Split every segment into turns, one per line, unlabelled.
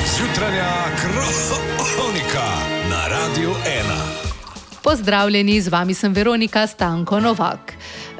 jutranja kronika na Radiu 1.
Pozdravljeni, z vami sem Veronika Stanko Novak.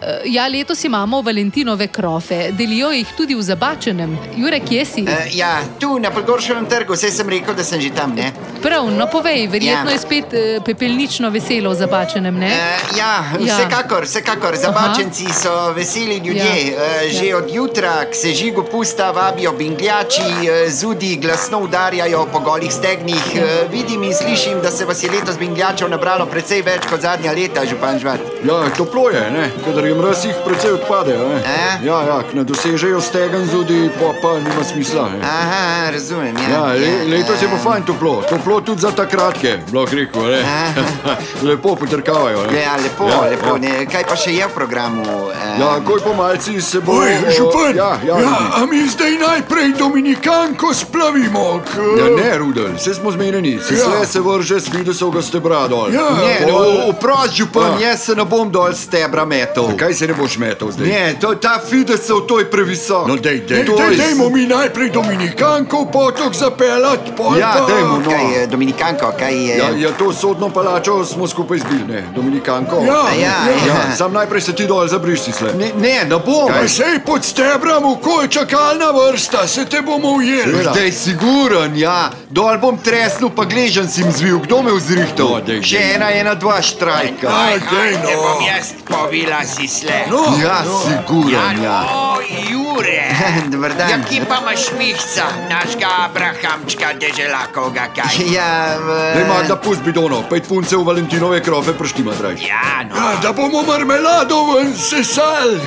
Eh, Ja, letos imamo Valentinove krofe, delijo jih tudi v Zabačenem. Jurek, kje si?
Uh, ja, tu na Pogorševem trgu, vse sem rekel, da sem že tam. Ne?
Prav, no povej, verjetno
Ja.
je spet eh, pepelnično veselo v Zabačenem, ne?
Uh, ja,
Eh? Ja.
vsekakor, vsekakor. Zabačenci so veseli ljudje.
Ja.
Ja. Že
Ja.
od jutra k sežigu pusta vabijo bingljači, eh, zudi glasno udarjajo po golih stegnih. Eh, Vidim in slišim, da se vas je letos bingljačev nabralo precej več kot zadnja leta, župan Žvat.
Ja, toplo je, ne? kadar je mraz, jih precej odpade.
E?
Ja, ja, k ne dosežejo stegen zudi, pa pa nima smisla. Ne?
Aha, razumem. Ja,
Ja, le, letos je
eh.
pa fajn toplo, toplo tudi za ta kratke, blok rekel. Ne?
Aha.
Lepo potrkavajo. Ne?
Ja, lepo, ja, lepo. Ne, kaj pa še je v programu? eh?
Ja, koj po malci se bo.
Oj,
o,
župan!
Ja, ja, ja.
a mi zdaj najprej Dominikanko splavimo. K...
Ja, ne, Rudel, vse smo zmenjeni, se
Ja.
ja. se vrže s vidusovega stebra dol.
Ja.
Ne,
O,
no, oprost, župan,
Ja.
jaz se ne bom dol stebra metal.
Kaj se ne boš metal zdaj?
Ne, to, ta Fidesov, to je previsok.
No, dej, dej,
Dej,
to
dej,
je-
dejmo mi najprej Dominikanko v potok zapeljati, pol
Ja,
pa...
dejmo, no.
Kaj je Dominikanko, kaj je?
Ja, ja, to sodno palačo smo skupaj zbili, ne, Dominikanko.
Ja,
Ja,
ja.
ja.
Ja, sam najprej se ti dol zabriš, si sle.
Ne, ne, ne bom.
Pa sej pod stebram, ko je čakalna vrsta, se te bomo ujeli.
Seveda.
Zdaj siguren, ja. Dol bom tresnil, pa gležen sem zvil. Kdo me
No,
vzrihtal?
dej, dej.
Še ena, ena, dva štrajka.
Aj, dej,
Te bom
no.
jaz povila si sle.
No,
Ja,
no.
siguren, ja.
O, Jure.
Dobar dan.
Ja, kje pa imaš mihca, našega Abrahamčka, deželakovega kaj?
Ja, v-
Ne, Magda, pusti bidono, pet punce v Valentinove krofe prštima, draj.
Ja, no.
Ja, da bomo marmelado ven sesali.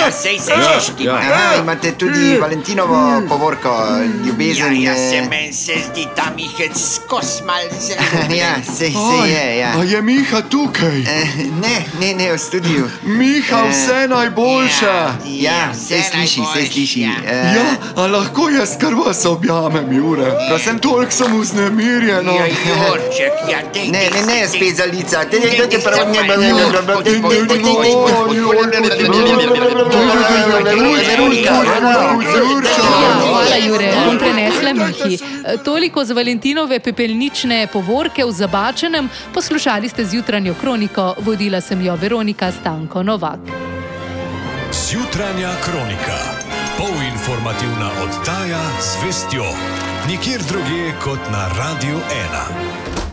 Ja, sej se
Ja,
češti.
ja.
Aha, imate tudi Valentinovo povorko,
Ja,
ljubezen.
ja, se
eh,
meni se zdi ta mihec skos mal zelo.
Ja, se, se je, ja.
A je Miha tukaj?
Eh, Ne, ne, ne, v studiu.
Miha,
Eh,
vse najboljše.
Ja, se sliši, se sliši. eh,
Ja, a lahko jaz kar vas objamem, Jure. Prosim, toliko sem vznemirjena.
Ja, Jurček, ja, dej,
Ne,
dej,
ne, ne,
dej.
spet za lica. Te
Ne,
ne, te
ne,
prav
ne,
ne, ne, ne,
ne,
ne,
ne,
ne,
ne, ne, ne, ne, ne,
no,
ne.
Ja, hvala,
Hvala,
Jure, bom prenesla Mihi. Eh, Toliko z Valentinove pepelnične povorke v Zabačenem. Poslušali ste z jutranjo kroniko, vodila sem jo Veronika Stanko Novak.
Jutranja kronika. Polinformativna oddaja z vestjo. Nikjer drugje kot na Radiu 1.